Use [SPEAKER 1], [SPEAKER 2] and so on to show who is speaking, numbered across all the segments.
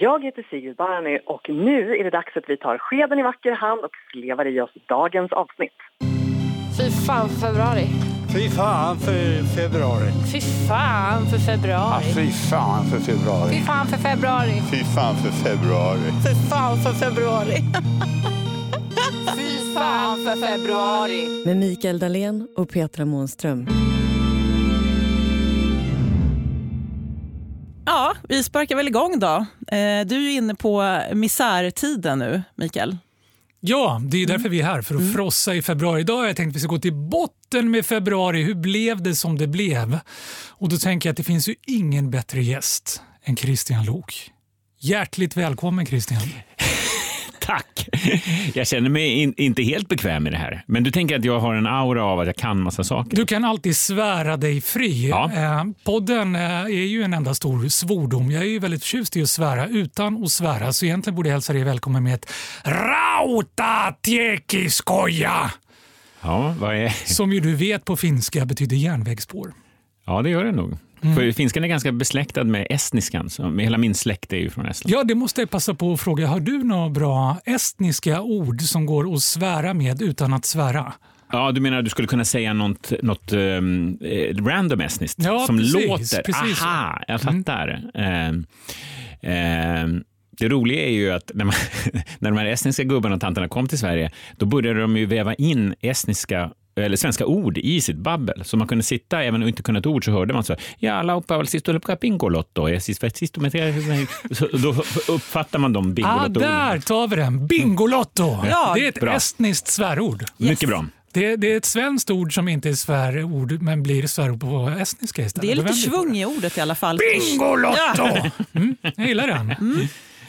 [SPEAKER 1] Jag heter Sigrid Barny och nu är det dags att vi tar skeden i vacker hand och slevar i oss dagens avsnitt.
[SPEAKER 2] Fy fan för februari.
[SPEAKER 3] Fy fan för februari.
[SPEAKER 2] Fy fan för februari.
[SPEAKER 3] Fy fan för februari.
[SPEAKER 2] Fy fan för februari.
[SPEAKER 4] Fy fan för februari.
[SPEAKER 2] Fy fan för februari. Fy fan för februari.
[SPEAKER 5] Med Mikael Dahlén och Petra Månström.
[SPEAKER 6] Ja, vi sparkar väl igång då. Eh, Du är ju inne på misärtiden nu, Mikael.
[SPEAKER 7] Ja, det är ju därför vi är här, för att frossa i februari. Idag har jag tänkt att vi ska gå till botten med februari. Hur blev det som det blev? Och då tänker jag att det finns ju ingen bättre gäst än Christian Lok. Hjärtligt välkommen Christian.
[SPEAKER 8] Tack! Jag känner mig in, inte helt bekväm i det här. Men du tänker att jag har en aura av att jag kan massa saker?
[SPEAKER 7] Du kan alltid svära dig fri.
[SPEAKER 8] Ja.
[SPEAKER 7] Eh, podden eh, är ju en enda stor svordom. Jag är ju väldigt förtjust i att svära utan att svära, så egentligen borde jag hälsa dig välkommen med ett rautatekiskoja!
[SPEAKER 8] Ja, vad är...
[SPEAKER 7] Som ju du vet på finska betyder järnvägsspår.
[SPEAKER 8] ja det gör det nog. För finskan är ganska besläktad med estniskan. Så hela min släkt är ju från Estland.
[SPEAKER 7] Ja, det måste jag passa på att fråga. Har du några bra estniska ord som går att svära med utan att svära?
[SPEAKER 8] Ja, du menar att du skulle kunna säga något, något ehm, eh, random estniskt
[SPEAKER 7] Ja,
[SPEAKER 8] som
[SPEAKER 7] precis,
[SPEAKER 8] låter...
[SPEAKER 7] precis. Mm.
[SPEAKER 8] Aha, jag fattar. Ehm, ehm, det roliga är ju att när, man, när de här estniska gubbarna och tanterna kom till Sverige, då började de ju väva in estniska eller svenska ord i sitt babbel. Så man kunde sitta, även om man inte kunde ett ord, så hörde man så här, ja, laupaval sistolupka pingolotto, ja, sist- sist- Så då uppfattar man de
[SPEAKER 7] Ah,
[SPEAKER 8] bingolotto Mm.
[SPEAKER 7] där tar vi den! Bingolotto!
[SPEAKER 6] Ja,
[SPEAKER 7] det är ett
[SPEAKER 8] bra.
[SPEAKER 7] estniskt svärord.
[SPEAKER 8] Mycket bra.
[SPEAKER 7] Det, det är ett svenskt ord som inte är svärord, men blir svärord på estniska istället.
[SPEAKER 6] Det är
[SPEAKER 7] Då
[SPEAKER 6] lite
[SPEAKER 7] vänder vi på
[SPEAKER 6] svung i ordet i alla fall.
[SPEAKER 7] det. Bingolotto! Mm, jag gillar den.
[SPEAKER 6] Mm.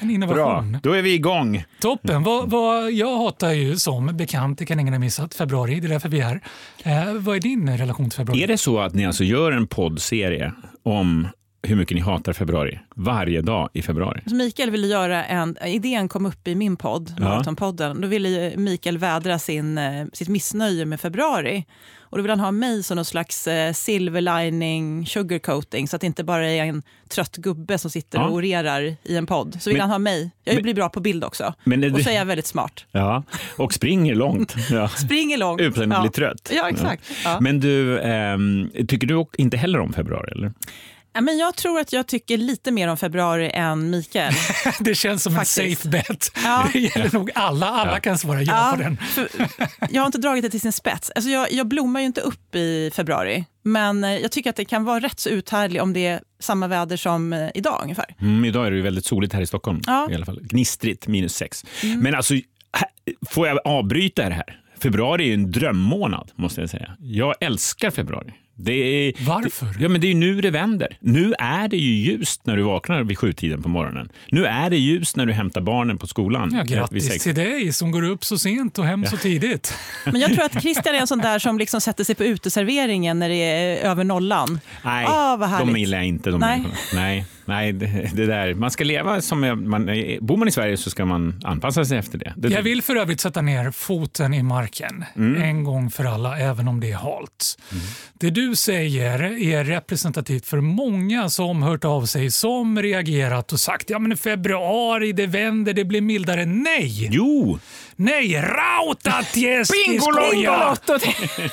[SPEAKER 7] En
[SPEAKER 8] Bra,
[SPEAKER 7] innovation.
[SPEAKER 8] då är vi igång.
[SPEAKER 7] Toppen. Vad, vad, jag hatar ju som bekant, det kan ingen ha missat, februari. Det är därför vi är här. Eh, vad är din relation till februari?
[SPEAKER 8] Är det så att ni alltså gör en poddserie om hur mycket ni hatar februari varje dag i februari?
[SPEAKER 6] Så Mikael ville göra en, idén kom upp i min podd,
[SPEAKER 8] Ja.
[SPEAKER 6] Maratonpodden. Då ville ju Mikael vädra sin, eh, sitt missnöje med februari. Och då vill han ha mig som någon slags eh, silver lining sugarcoating så att det inte bara är en trött gubbe som sitter
[SPEAKER 8] Ja.
[SPEAKER 6] och orerar i en podd. Så vill
[SPEAKER 8] Men-
[SPEAKER 6] han ha mig. Jag
[SPEAKER 8] men-
[SPEAKER 6] blir bra på bild också.
[SPEAKER 8] Men är
[SPEAKER 6] Och
[SPEAKER 8] du-
[SPEAKER 6] så är jag väldigt smart.
[SPEAKER 8] Ja, och springer långt. Ja.
[SPEAKER 6] Springer långt.
[SPEAKER 8] Utan att
[SPEAKER 6] ja.
[SPEAKER 8] bli trött.
[SPEAKER 6] Ja, exakt. Ja.
[SPEAKER 8] Men du, ehm, tycker du och- inte heller om februari? Eller?
[SPEAKER 6] Ja, Men jag tror att jag tycker lite mer om februari än Mikael.
[SPEAKER 7] Det känns som
[SPEAKER 6] Faktiskt.
[SPEAKER 7] en safe bet.
[SPEAKER 6] Ja.
[SPEAKER 7] Det gäller nog alla. Alla kan svara ja, på den.
[SPEAKER 6] för, jag har inte dragit det till sin spets. Alltså jag, jag blommar ju inte upp i februari, men eh, jag tycker att det kan vara rätt så uthärdligt om det är samma väder som eh, idag ungefär.
[SPEAKER 8] Mm, idag är det ju väldigt soligt här i Stockholm.
[SPEAKER 6] Ja.
[SPEAKER 8] I alla fall. Gnistrigt, minus sex.
[SPEAKER 7] Mm.
[SPEAKER 8] Men alltså, här- får jag avbryta det här? Februari är ju en drömmånad, måste jag säga. Jag älskar februari. Det är,
[SPEAKER 7] Varför?
[SPEAKER 8] Ja, men det är ju nu det vänder. Nu är det ju ljust när du vaknar vid sjutiden på morgonen. Nu är det ljust när du hämtar barnen på skolan.
[SPEAKER 7] Ja,
[SPEAKER 8] vid
[SPEAKER 7] grattis
[SPEAKER 8] sex.
[SPEAKER 7] till dig som går upp så sent och hem så tidigt.
[SPEAKER 6] Men jag tror att Christian är en sån där som liksom sätter sig på uteserveringen när det är över nollan.
[SPEAKER 8] Nej,
[SPEAKER 6] Ah, vad härligt.
[SPEAKER 8] de gillar jag inte. De
[SPEAKER 6] Nej.
[SPEAKER 8] människorna. Nej, nej det, det där. Man ska leva som... jag- Man, bor man i Sverige så ska man anpassa sig efter det. det
[SPEAKER 7] Jag vill för övrigt sätta ner foten i marken
[SPEAKER 8] Mm.
[SPEAKER 7] en gång för alla, även om det är halt. Det du säger är representativt för många som hört av sig, som reagerat och sagt ja men i februari, det vänder, det blir mildare. Nej!
[SPEAKER 8] Jo!
[SPEAKER 7] Nej! Rautatiestiskoja!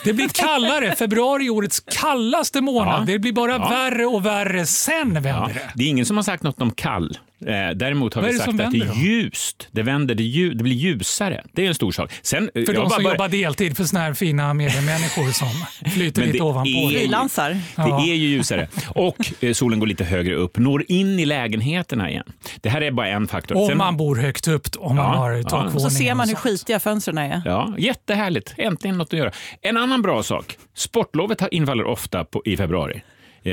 [SPEAKER 7] Det blir kallare. Februari är årets kallaste månad.
[SPEAKER 8] Ja.
[SPEAKER 7] Det blir bara värre och värre. Sen vänder
[SPEAKER 8] Ja,
[SPEAKER 7] det.
[SPEAKER 8] det är ingen som har sagt något om kall. Eh, däremot har
[SPEAKER 7] Vad
[SPEAKER 8] vi
[SPEAKER 7] är det
[SPEAKER 8] sagt
[SPEAKER 7] som
[SPEAKER 8] att det
[SPEAKER 7] vänder
[SPEAKER 8] är
[SPEAKER 7] då?
[SPEAKER 8] ljust. Det vänder, det, lju- det blir ljusare. Det är en stor sak. Sen, eh,
[SPEAKER 7] För de som jobbar deltid för såna här fina mediemänniskor som flyter
[SPEAKER 8] Men
[SPEAKER 7] lite
[SPEAKER 8] det
[SPEAKER 7] ovanpå.
[SPEAKER 8] är-
[SPEAKER 7] det.
[SPEAKER 6] Frilansar.
[SPEAKER 7] Ja.
[SPEAKER 8] Det är ju ljusare. Och eh, solen går lite högre upp, når in i lägenheterna igen. Det här är bara en faktor.
[SPEAKER 7] Om
[SPEAKER 8] Sen-
[SPEAKER 7] man bor högt upp, om man
[SPEAKER 8] Ja,
[SPEAKER 7] har
[SPEAKER 8] ja.
[SPEAKER 7] takvåning.
[SPEAKER 8] Och
[SPEAKER 6] Så ser man hur
[SPEAKER 7] och
[SPEAKER 6] skitiga fönstren är.
[SPEAKER 8] Ja, jättehärligt. Äntligen något att göra. En annan bra sak. Sportlovet har- infaller ofta på, i februari. Eh,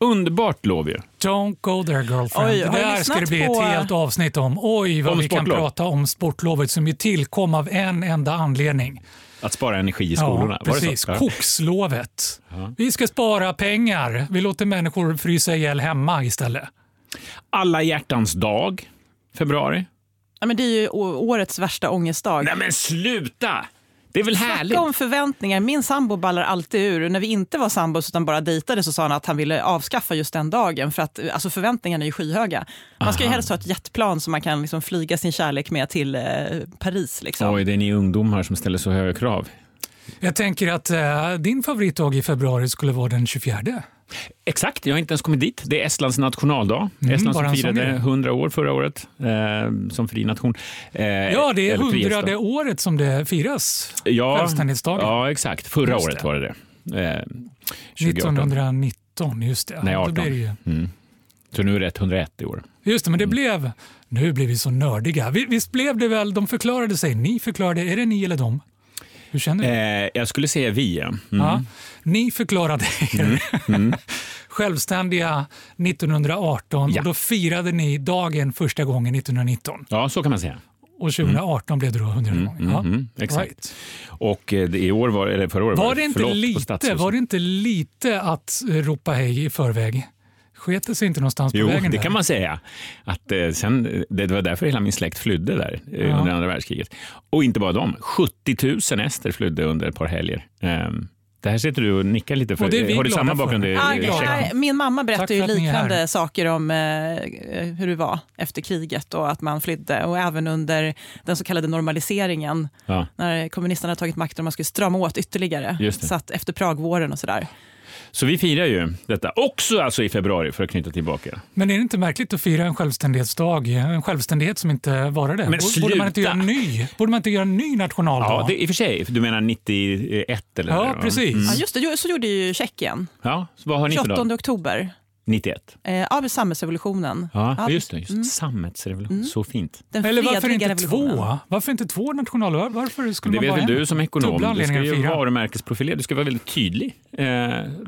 [SPEAKER 8] underbart lov ju.
[SPEAKER 7] Don't go there girlfriend.
[SPEAKER 6] Oj,
[SPEAKER 7] det
[SPEAKER 6] har jag
[SPEAKER 7] där ska det
[SPEAKER 6] lyssnat
[SPEAKER 7] bli ett
[SPEAKER 6] på-
[SPEAKER 7] helt avsnitt om. Oj, vad
[SPEAKER 8] Om
[SPEAKER 7] vi kan
[SPEAKER 8] sportlov.
[SPEAKER 7] prata om sportlovet som ju tillkom av en enda anledning.
[SPEAKER 8] Att spara energi i
[SPEAKER 7] Ja,
[SPEAKER 8] skolorna. Var det
[SPEAKER 7] precis.
[SPEAKER 8] så? Ja.
[SPEAKER 7] Kokslovet. Vi ska spara pengar. Vi låter människor frysa ihjäl hemma istället.
[SPEAKER 8] Alla hjärtans dag, februari.
[SPEAKER 6] Ja, men det är ju å- årets värsta ångestdag.
[SPEAKER 8] Nej men sluta! Det är väl härligt?
[SPEAKER 6] Snacka om förväntningar. Min sambo ballar alltid ur. När vi inte var sambos utan bara dejtade så sa han att han ville avskaffa just den dagen för att alltså förväntningarna är ju skyhöga. Man ska ju
[SPEAKER 8] Aha.
[SPEAKER 6] helst ha ett jetplan som man kan liksom flyga sin kärlek med till eh, Paris. Liksom.
[SPEAKER 8] Oj, det är ni ungdomar som ställer så höga krav.
[SPEAKER 7] Jag tänker att eh, din favoritdag i februari skulle vara den 24.
[SPEAKER 8] Exakt, jag har inte ens kommit dit. Det är Estlands nationaldag.
[SPEAKER 7] Mm,
[SPEAKER 8] Estland
[SPEAKER 7] bara
[SPEAKER 8] som
[SPEAKER 7] en sån
[SPEAKER 8] firade
[SPEAKER 7] grej.
[SPEAKER 8] 100 år förra året eh, som fri nation. Eh,
[SPEAKER 7] Ja, det är
[SPEAKER 8] eller frihetsdag.
[SPEAKER 7] hundrade året som det firas.
[SPEAKER 8] ja,
[SPEAKER 7] Självständighetsdagen.
[SPEAKER 8] Ja, exakt. Förra
[SPEAKER 7] Just
[SPEAKER 8] året
[SPEAKER 7] det.
[SPEAKER 8] var det det. Eh, 2018.
[SPEAKER 7] 1919, just det.
[SPEAKER 8] Nej,
[SPEAKER 7] Ja, Då
[SPEAKER 8] 18.
[SPEAKER 7] blir det ju.
[SPEAKER 8] Mm. Så nu är det 101 i år.
[SPEAKER 7] Just det, men det
[SPEAKER 8] Mm.
[SPEAKER 7] blev... Nu blir vi så nördiga. Vi- Visst blev det väl, de förklarade sig, ni förklarade, är det ni eller de? Hur känner du?
[SPEAKER 8] Eh, jag skulle säga vi. ja. Mm.
[SPEAKER 7] Ja, ni förklarade er självständiga 1918
[SPEAKER 8] Ja.
[SPEAKER 7] och då firade ni dagen första gången 1919.
[SPEAKER 8] Ja, så kan man säga.
[SPEAKER 7] Och 2018 blev det då 100 gånger.
[SPEAKER 8] mm,
[SPEAKER 7] Ja.
[SPEAKER 8] mm, exakt.
[SPEAKER 7] Right.
[SPEAKER 8] Och eh, det- i år var, eller förra året
[SPEAKER 7] Var, det inte
[SPEAKER 8] förlåt på
[SPEAKER 7] lite,
[SPEAKER 8] Stadshuset.
[SPEAKER 7] var det inte lite att eh, ropa hej i förväg? Sket det sig inte någonstans
[SPEAKER 8] Jo,
[SPEAKER 7] på vägen?
[SPEAKER 8] det
[SPEAKER 7] där?
[SPEAKER 8] kan man säga. Att, eh, sen, eh, det var därför hela min släkt flydde där eh,
[SPEAKER 7] Ja.
[SPEAKER 8] under andra världskriget. Och inte bara de, 70 000 ester flydde under ett par helger. Ehm, det här sitter du och nickar lite för.
[SPEAKER 7] Och det är vi
[SPEAKER 8] Har du
[SPEAKER 7] glada
[SPEAKER 8] samma
[SPEAKER 7] för.
[SPEAKER 8] bakgrund? i-
[SPEAKER 6] Ah,
[SPEAKER 8] i
[SPEAKER 7] glada.
[SPEAKER 8] Tjeckien?
[SPEAKER 6] nej, min mamma
[SPEAKER 7] Tack
[SPEAKER 6] berättar
[SPEAKER 7] för
[SPEAKER 6] ju
[SPEAKER 7] att ni är här.
[SPEAKER 6] liknande saker om eh, hur det var efter kriget och att man flydde och även under den så kallade normaliseringen
[SPEAKER 8] Ja.
[SPEAKER 6] när kommunisterna tagit makten och man skulle strama åt ytterligare.
[SPEAKER 8] Just det.
[SPEAKER 6] Så att efter Pragvåren och sådär.
[SPEAKER 8] Så vi firar ju detta också alltså i februari för att knyta tillbaka.
[SPEAKER 7] Men är det inte märkligt att fira en självständighetsdag, en självständighet som inte varade?
[SPEAKER 8] Men
[SPEAKER 7] Borde- Borde man inte göra
[SPEAKER 8] sluta!
[SPEAKER 7] en ny, borde man inte göra en ny nationaldag?
[SPEAKER 8] Ja, det, mm. i och för sig. Du menar 91 eller?
[SPEAKER 7] Ja,
[SPEAKER 8] vad det var?
[SPEAKER 7] precis.
[SPEAKER 6] Ja, just det, ju- så gjorde ju Tjeckien.
[SPEAKER 8] Ja, så vad har ni för
[SPEAKER 6] 28
[SPEAKER 8] dag?
[SPEAKER 6] oktober,
[SPEAKER 8] 91.
[SPEAKER 6] eh, av samhällsrevolutionen.
[SPEAKER 8] Ja,
[SPEAKER 6] Ja,
[SPEAKER 8] just det. Just.
[SPEAKER 7] Mm.
[SPEAKER 8] det. Sammetsrevolution. Så fint.
[SPEAKER 6] Den
[SPEAKER 7] Eller varför
[SPEAKER 6] fredliga
[SPEAKER 7] inte
[SPEAKER 6] revolutionen.
[SPEAKER 7] två? Varför inte två nationaldagar? Varför skulle
[SPEAKER 8] Det
[SPEAKER 7] man
[SPEAKER 8] vet
[SPEAKER 7] bara
[SPEAKER 8] väl
[SPEAKER 7] en?
[SPEAKER 8] du som
[SPEAKER 7] Dubbla
[SPEAKER 8] ekonom. Du ska
[SPEAKER 7] anledningar att
[SPEAKER 8] ju
[SPEAKER 7] fira.
[SPEAKER 8] varumärkesprofilera. Du ska vara väldigt tydlig. Eh,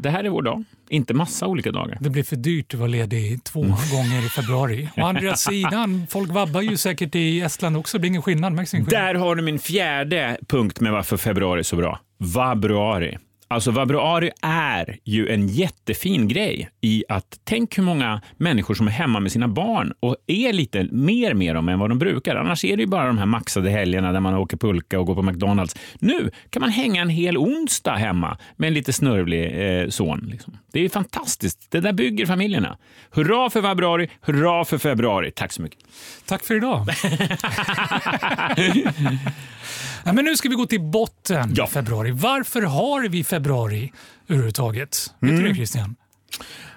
[SPEAKER 8] det här är vår dag. Inte massa olika dagar.
[SPEAKER 7] Det blir för dyrt att vara ledig två
[SPEAKER 8] Mm.
[SPEAKER 7] gånger i februari. Å andra sidan, folk vabbar ju säkert i Estland också. Det blir ingen skillnad. Märks ingen skillnad.
[SPEAKER 8] Där har du min fjärde punkt med varför februari är så bra. Vabruari. Alltså vabruari är ju en jättefin grej i att tänk hur många människor som är hemma med sina barn och är lite mer med dem än vad de brukar. Annars är det ju bara de här maxade helgerna där man åker pulka och går på McDonalds. Nu kan man hänga en hel onsdag hemma med en lite snörvlig eh, son. Liksom. Det är fantastiskt. Det där bygger familjerna. Hurra för vabruari, hurra för februari. Tack så mycket.
[SPEAKER 7] Tack för idag. Nej, men nu ska vi gå till botten
[SPEAKER 8] Ja.
[SPEAKER 7] ja. februari. Varför har vi februari överhuvudtaget? Vet du
[SPEAKER 8] Mm.
[SPEAKER 7] det Christian?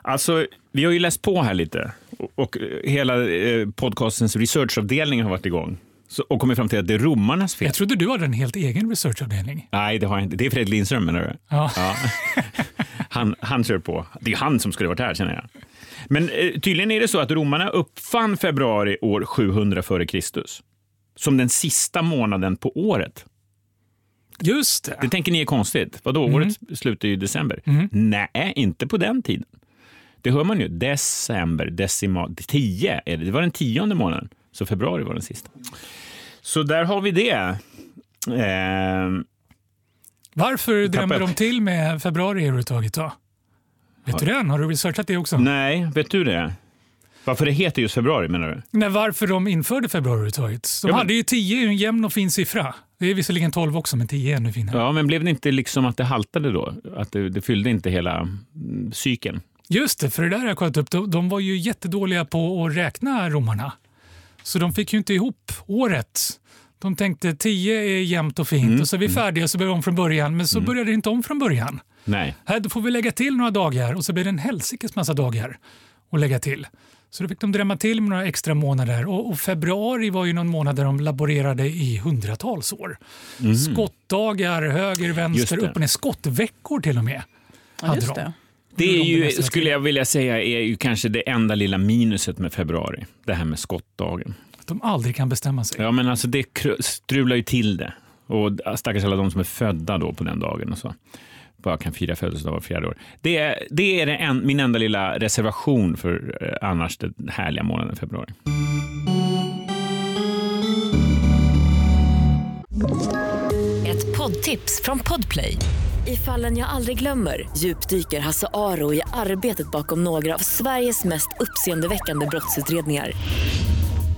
[SPEAKER 8] Alltså, vi har ju läst på här lite och, och eh, hela eh, podcastens researchavdelning har varit igång så, och kommit fram till att det är romarnas fel.
[SPEAKER 7] Jag trodde du hade en helt egen researchavdelning.
[SPEAKER 8] Nej, det har jag inte. Det är Fredrik Lindström, menar du?
[SPEAKER 7] Ja.
[SPEAKER 8] Han, han kör på. Det är han som skulle varit här, känner jag. Men eh, tydligen är det så att romarna uppfann februari år 700 före Kristus som den sista månaden på året.
[SPEAKER 7] Just det. Mm.
[SPEAKER 8] Det tänker ni är konstigt. Vadå, året slutar ju i december. Nej, inte på den tiden. Det hör man ju. December, decimal, tio är det. Det var den tionde månaden. Så februari var den sista. Så där har vi det. Ehm,
[SPEAKER 7] Varför drämde
[SPEAKER 8] tappade-
[SPEAKER 7] de till med februari överhuvudtaget då? Vet du den? Har du researchat det också?
[SPEAKER 8] nej, vet du det? Varför det heter just februari menar du?
[SPEAKER 7] Nej, varför de införde februari överhuvudtaget. De
[SPEAKER 8] Ja, men-
[SPEAKER 7] hade ju 10 är ju en jämn och fin siffra. Det är visserligen 12 också, men 10 är ännu finare.
[SPEAKER 8] Ja, men blev det inte liksom att det haltade då? Att det, det fyllde inte hela mm, cykeln?
[SPEAKER 7] Just det, för det där har jag kollat upp. De, de var ju jättedåliga på att räkna romarna. Så de fick ju inte ihop året. De tänkte 10 är jämnt och
[SPEAKER 8] Mm,
[SPEAKER 7] fint och så är vi färdiga så börjar vi om från början. Men så började det inte om från början.
[SPEAKER 8] Nej.
[SPEAKER 7] Här, då får vi lägga till några dagar och så blir det en helsikes massa dagar att lägga till. Så då fick de drämma till med några extra månader och, och februari var ju någon månad där de laborerade i hundratals år. Skottdagar, höger,
[SPEAKER 8] Mm. Just
[SPEAKER 7] vänster,
[SPEAKER 8] det.
[SPEAKER 7] upp och ner. Skottveckor till och med.
[SPEAKER 6] Ja,
[SPEAKER 7] hade
[SPEAKER 6] just
[SPEAKER 7] de.
[SPEAKER 6] det.
[SPEAKER 8] Det är
[SPEAKER 7] Hur de
[SPEAKER 8] ju,
[SPEAKER 7] bemästrar
[SPEAKER 8] skulle jag vilja säga, är ju kanske det enda lilla minuset med februari. Det här med skottdagen.
[SPEAKER 7] Att de aldrig kan bestämma sig.
[SPEAKER 8] Ja, men alltså det kru- strular ju till det. Och äh, stackars alla de som är födda då på den dagen och så. Bara kan fira födelsedag var fjärde år. Det är, det är det en, min enda lilla reservation för eh, annars den härliga månaden februari.
[SPEAKER 9] Ett poddtips från Podplay. I fallen jag aldrig glömmer djupdyker Hasse Aro i arbetet bakom några av Sveriges mest uppseendeväckande brottsutredningar.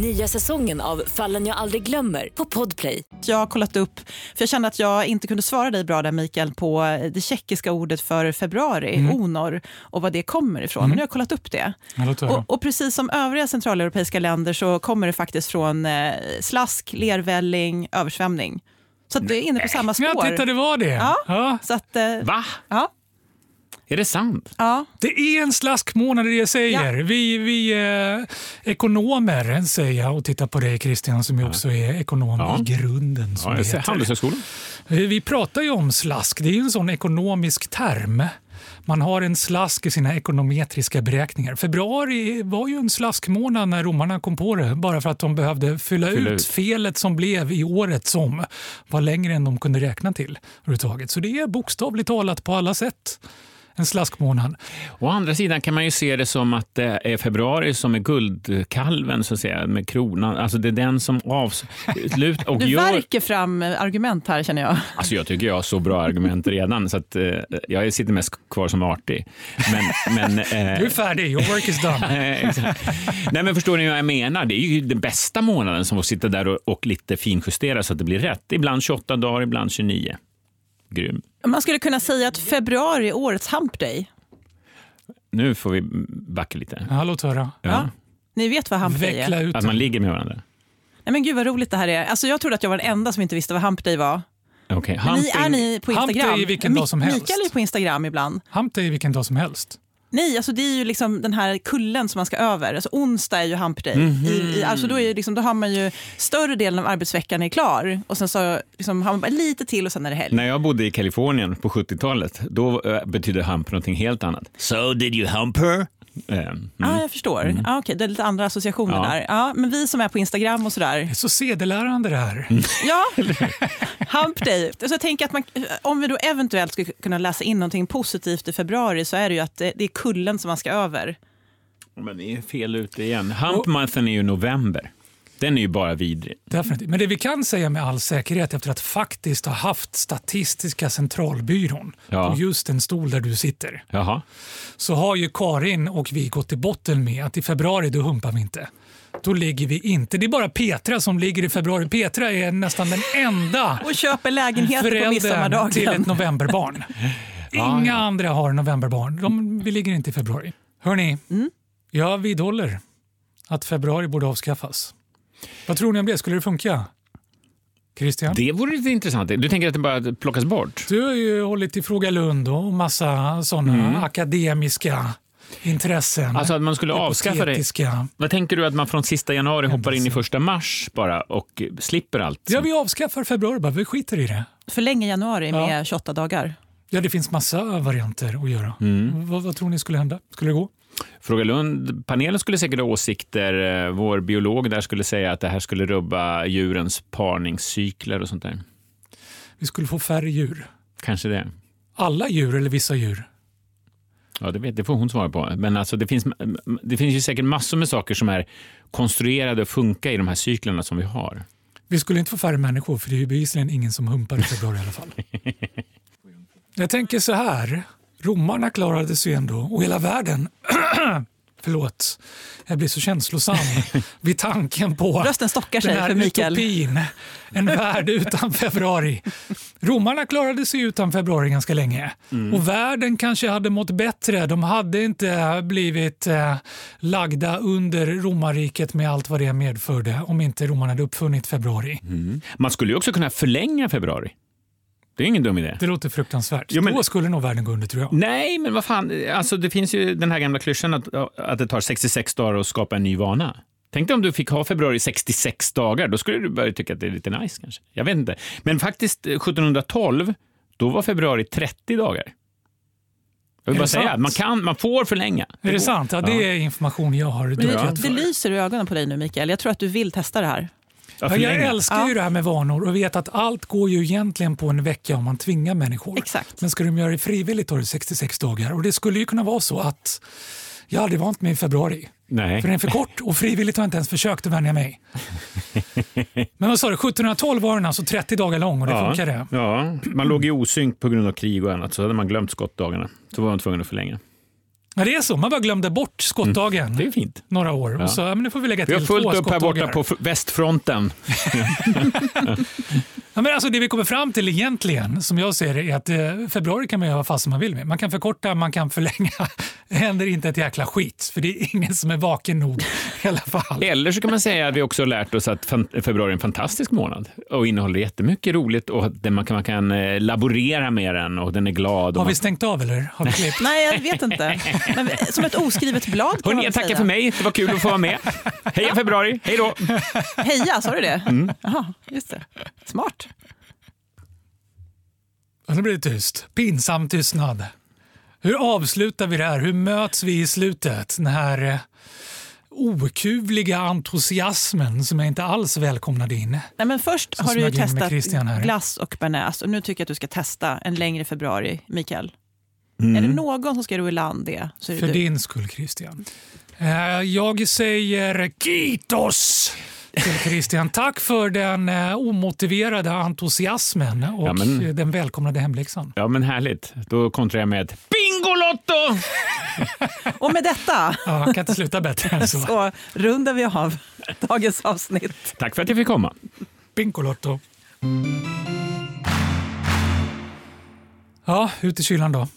[SPEAKER 9] Nya säsongen av Fallen jag aldrig glömmer på Podplay.
[SPEAKER 6] Jag har kollat upp, för jag kände att jag inte kunde svara dig bra där Mikael på det tjeckiska ordet för februari, onor, och vad det kommer ifrån. Men nu har jag kollat upp det.
[SPEAKER 7] Ja, låt höra.
[SPEAKER 6] Och, och precis som övriga centraleuropeiska länder så kommer det faktiskt från eh, slask, lervälling, översvämning. Så att det är inne på samma
[SPEAKER 7] Ja,
[SPEAKER 6] spår.
[SPEAKER 7] titta det var det.
[SPEAKER 6] Ja.
[SPEAKER 7] Ja.
[SPEAKER 6] Så att, eh,
[SPEAKER 8] Va?
[SPEAKER 6] ja,
[SPEAKER 8] Är det sant?
[SPEAKER 6] ja.
[SPEAKER 7] Det är en slaskmånad det jag säger. Vi, vi eh, ekonomer säger jag och tittar på dig Christian som ju också är ekonom
[SPEAKER 8] Ja.
[SPEAKER 7] i grunden. Som
[SPEAKER 8] Ja,
[SPEAKER 7] det
[SPEAKER 8] jag ser
[SPEAKER 7] heter.
[SPEAKER 8] Handelshögskolan.
[SPEAKER 7] Eh, Vi pratar ju om slask. Det är ju en sån ekonomisk term. Man har en slask i sina ekonometriska beräkningar. Februari var ju en slaskmånad när romarna kom på det bara för att de behövde fylla,
[SPEAKER 8] Fylla
[SPEAKER 7] ut,
[SPEAKER 8] ut.
[SPEAKER 7] felet som blev i året som var längre än de kunde räkna till. överhuvudtaget. Så det är bokstavligt talat på alla sätt en slaskmånad.
[SPEAKER 8] Å andra sidan kan man ju se det som att det är februari som är guldkalven, så att säga, med kronan. Alltså det är den som avslutar och
[SPEAKER 6] Du
[SPEAKER 8] gör...
[SPEAKER 6] värker fram eh, argument här känner jag.
[SPEAKER 8] Alltså jag tycker jag har så bra argument redan, så att, eh, jag sitter mest kvar som artig. Men, men, eh,
[SPEAKER 7] Du är färdig, your work is done.
[SPEAKER 8] Eh, exakt. Nej, men förstår ni vad jag menar? Det är ju den bästa månaden som får sitta där och, och lite finjustera så att det blir rätt. Ibland 28 dagar, ibland 29. Grym.
[SPEAKER 6] Man skulle kunna säga att februari är årets hump day.
[SPEAKER 8] Nu får vi backa lite.
[SPEAKER 7] Ja, låt höra.
[SPEAKER 8] Ja.
[SPEAKER 6] Ni vet vad hump day är?
[SPEAKER 7] Veckla ut
[SPEAKER 8] Att man ligger med varandra.
[SPEAKER 6] Nej, men gud vad roligt det här är. Alltså, jag trodde att jag var den enda som inte visste vad hump day var.
[SPEAKER 8] Okej.
[SPEAKER 6] Men
[SPEAKER 8] Humping-
[SPEAKER 6] Ni, är ni på
[SPEAKER 7] Hump day
[SPEAKER 6] Instagram?
[SPEAKER 7] är vilken dag som helst.
[SPEAKER 6] Mikael är på Instagram ibland.
[SPEAKER 7] Hump day vilken dag som helst.
[SPEAKER 6] Nej, alltså det är ju liksom den här kullen som man ska över. Alltså onsdag är ju hump day. I, i,
[SPEAKER 7] Mhm.
[SPEAKER 6] alltså då, är ju liksom, då har man ju större delen av arbetsveckan är klar och sen så liksom, har man bara lite till och sen är det helg.
[SPEAKER 8] När jag bodde i Kalifornien på 70-talet, då eh, betydde hump någonting helt annat. So did you hump her? Eh, mm.
[SPEAKER 6] Ja, ah, jag förstår. Ah, okay. Det är lite andra associationer
[SPEAKER 8] Ja.
[SPEAKER 6] där. Ja, men vi som är på Instagram och sådär.
[SPEAKER 7] Det är så sedelärande det här.
[SPEAKER 6] Ja, hump day. Så jag tänker att man, om vi då eventuellt skulle kunna läsa in någonting positivt i februari så är det ju att det, det är kullen som man ska över.
[SPEAKER 8] Men ni är fel ute igen. Hump monthen är ju november. Den är ju bara vidrig.
[SPEAKER 7] Definitivt. Men det vi kan säga med all säkerhet efter att faktiskt ha haft Statistiska centralbyrån
[SPEAKER 8] Ja.
[SPEAKER 7] på just den stol där du sitter,
[SPEAKER 8] Jaha.
[SPEAKER 7] så har ju Karin och vi gått till botten med att i februari då humpar vi inte. Då ligger vi inte. Det är bara Petra som ligger i februari. Petra är nästan den enda
[SPEAKER 6] Och köper lägenheter på
[SPEAKER 7] föräldern till
[SPEAKER 6] midsommardagen.
[SPEAKER 7] ett novemberbarn. Inga andra har novemberbarn. De, vi ligger inte i februari. Hörni, jag vidhåller att februari borde avskaffas. Vad tror ni om det? Skulle det funka? Christian?
[SPEAKER 8] Det vore lite intressant. Du tänker att det bara plockas bort?
[SPEAKER 7] Du har ju hållit i Fråga Lund och massa sådana akademiska intressen.
[SPEAKER 8] Mm. Alltså att man skulle avskaffa det?
[SPEAKER 7] Hypotetiska.
[SPEAKER 8] Vad tänker du att man från sista januari hoppar in i första mars bara och eh, slipper allt?
[SPEAKER 7] Ja, vi avskaffar februari bara. Vi skiter i det.
[SPEAKER 6] Förlänga januari med 28 dagar.
[SPEAKER 7] Ja, det finns massa varianter att göra.
[SPEAKER 8] Mm.
[SPEAKER 7] Vad, vad tror ni skulle hända? Skulle det gå?
[SPEAKER 8] Fråga Lund-panelen skulle säkert ha åsikter. Eh, Vår biolog där skulle säga att det här skulle rubba djurens parningscykler och sånt där.
[SPEAKER 7] Vi skulle få färre djur.
[SPEAKER 8] Kanske det.
[SPEAKER 7] Alla djur eller vissa djur?
[SPEAKER 8] Ja, det, vet, det får hon svara på. Men alltså, det, finns, det finns ju säkert massor med saker som är konstruerade och funkar i de här cyklerna som vi har.
[SPEAKER 7] Vi skulle inte få färre människor för det är ju bevisligen ingen som humpar i februari i alla fall. Jag tänker så här. Romarna klarade sig ändå och hela världen. Förlåt, jag blir så känslosam vid tanken på
[SPEAKER 6] Rösten stockar sig
[SPEAKER 7] den här
[SPEAKER 6] för Mikael.
[SPEAKER 7] utopin. En värld utan februari. Romarna klarade sig utan februari ganska länge. Och världen kanske hade mått bättre. De hade inte blivit eh, lagda under romarriket med allt vad det medförde om inte romarna hade uppfunnit februari.
[SPEAKER 8] Man skulle ju också kunna förlänga februari. Det är ingen dum idé.
[SPEAKER 7] Det låter fruktansvärt.
[SPEAKER 8] Jo, men-
[SPEAKER 7] Då skulle nog världen gå under tror jag.
[SPEAKER 8] Nej, men vad fan. Alltså, det finns ju den här gamla klyschan att, att det tar 66 dagar att skapa en ny vana. Tänk dig om du fick ha februari 66 dagar. Då skulle du börja tycka att det är lite nice kanske. Jag vet inte. Men faktiskt eh, 1712, då var februari 30 dagar. Jag
[SPEAKER 7] Är
[SPEAKER 8] vill bara
[SPEAKER 7] det
[SPEAKER 8] säga,
[SPEAKER 7] sant?
[SPEAKER 8] att man, kan, man får förlänga.
[SPEAKER 7] Är det
[SPEAKER 8] går.
[SPEAKER 7] sant? Ja, det är information jag har
[SPEAKER 6] Men det,
[SPEAKER 7] utnyttjat
[SPEAKER 6] det
[SPEAKER 7] för.
[SPEAKER 6] lyser i ögonen på dig nu Mikael. Jag tror att du vill testa det här.
[SPEAKER 8] Ja,
[SPEAKER 7] Ja, jag
[SPEAKER 8] förlänga.
[SPEAKER 7] älskar ju det här med vanor och vet att allt går ju egentligen på en vecka om man tvingar människor.
[SPEAKER 6] Exakt.
[SPEAKER 7] Men ska de göra det frivilligt tar det 66 dagar. Och det skulle ju kunna vara så att jag hade vant mig i februari.
[SPEAKER 8] Nej.
[SPEAKER 7] För den är för kort och frivilligt har jag inte ens försökt att vänja mig. Men vad sa du, 1712 var den alltså 30 dagar lång och det
[SPEAKER 8] ja,
[SPEAKER 7] funkar det.
[SPEAKER 8] Ja, man låg i osynk på grund av krig och annat, så hade man glömt skottdagarna. Så var man tvungen att förlänga.
[SPEAKER 7] Ja, det är så, man bara glömde bort skottdagen
[SPEAKER 8] Mm. Det är fint.
[SPEAKER 7] några år.
[SPEAKER 8] Ja.
[SPEAKER 7] Och så, ja, men nu får vi lägga
[SPEAKER 8] Vi
[SPEAKER 7] till
[SPEAKER 8] har fullt
[SPEAKER 7] två
[SPEAKER 8] upp här borta
[SPEAKER 7] skottdagar.
[SPEAKER 8] på f- västfronten.
[SPEAKER 7] Ja, men alltså det vi kommer fram till egentligen, som jag ser det, är att eh, februari kan man göra vad fasen man vill med. Man kan förkorta, man kan förlänga. Det händer inte ett jäkla skit, för det är ingen som är vaken nog i alla fall.
[SPEAKER 8] Eller så kan man säga att vi också har lärt oss att fan- februari är en fantastisk månad och innehåller jättemycket roligt och att den- man kan, man kan eh, laborera med den och den är glad. Och
[SPEAKER 7] Har
[SPEAKER 8] man...
[SPEAKER 7] vi stängt av eller? Har vi klippt?
[SPEAKER 6] Nej, jag vet inte. Men som ett oskrivet blad kan man
[SPEAKER 8] Hörrni,
[SPEAKER 6] väl
[SPEAKER 8] jag tackar
[SPEAKER 6] säga.
[SPEAKER 8] för mig. Det var kul att få vara med. Heja februari! Hej då!
[SPEAKER 6] Heja, sa du det? Jaha, just det. Smart.
[SPEAKER 7] Och Nu blir det tyst. Pinsam tystnad. Hur avslutar vi det här? Hur möts vi i slutet? Den här eh, okuvliga entusiasmen som jag inte alls välkomnade in.
[SPEAKER 6] Nej, men först
[SPEAKER 7] Så
[SPEAKER 6] har du ju
[SPEAKER 7] smög jag in med
[SPEAKER 6] testat
[SPEAKER 7] Christian här.
[SPEAKER 6] glass och bearnaise och nu tycker jag att du ska testa en längre februari, Mikael. Är det någon som ska ro i land det så är det
[SPEAKER 7] För
[SPEAKER 6] du.
[SPEAKER 7] din skull, Christian. Eh, Jag säger kitos till Christian. Tack för den eh, omotiverade entusiasmen och
[SPEAKER 8] Ja, men-
[SPEAKER 7] eh, den välkomnade hemläxan.
[SPEAKER 8] Ja, men härligt. Då kontrar jag med Bingolotto!
[SPEAKER 6] Och med detta
[SPEAKER 7] Ja, jag kan inte sluta bättre än så.
[SPEAKER 6] så rundar vi av dagens avsnitt.
[SPEAKER 8] Tack för att jag fick komma.
[SPEAKER 7] Pinkolotto. Ja, ut i kylan då.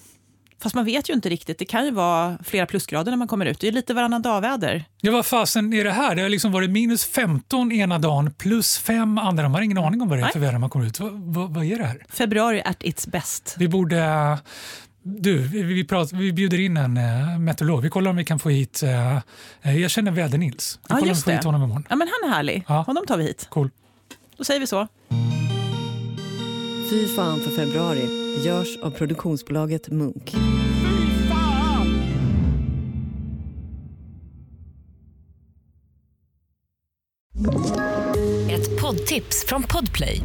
[SPEAKER 6] Fast man vet ju inte riktigt. Det kan ju vara flera plusgrader när man kommer ut. Det är lite varannan dag-väder.
[SPEAKER 7] Ja, vad fasen är det här? Det har liksom varit minus 15 ena dagen, plus 5 andra. Man har ingen aning om vad det är för väder när man kommer ut. Vad, vad, vad är det här?
[SPEAKER 6] Februari at its best.
[SPEAKER 7] Vi borde... Du, vi, vi, pratar, vi bjuder in en eh, meteorolog. Vi kollar om vi kan få hit... eh, eh, jag känner Väder-Nils.
[SPEAKER 6] Ja,
[SPEAKER 7] Vi kollar om vi
[SPEAKER 6] just
[SPEAKER 7] får hit
[SPEAKER 6] det.
[SPEAKER 7] honom imorgon.
[SPEAKER 6] Ja, men han är härlig.
[SPEAKER 7] Ja.
[SPEAKER 6] Honom tar vi hit.
[SPEAKER 7] Cool.
[SPEAKER 6] Då säger vi så.
[SPEAKER 5] Fy fan för februari görs av produktionsbolaget Munk.
[SPEAKER 9] Ett poddtips från Podplay.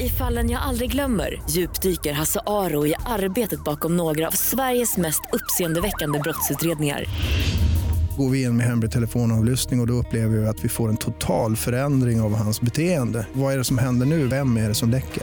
[SPEAKER 9] I fallen jag aldrig glömmer djupdyker Hasse Aro i arbetet bakom några av Sveriges mest uppseendeväckande brottsutredningar.
[SPEAKER 10] Går vi in med hemlig telefonavlyssning och, och då upplever vi att vi får en total förändring av hans beteende. Vad är det som händer nu? Vem är det som läcker?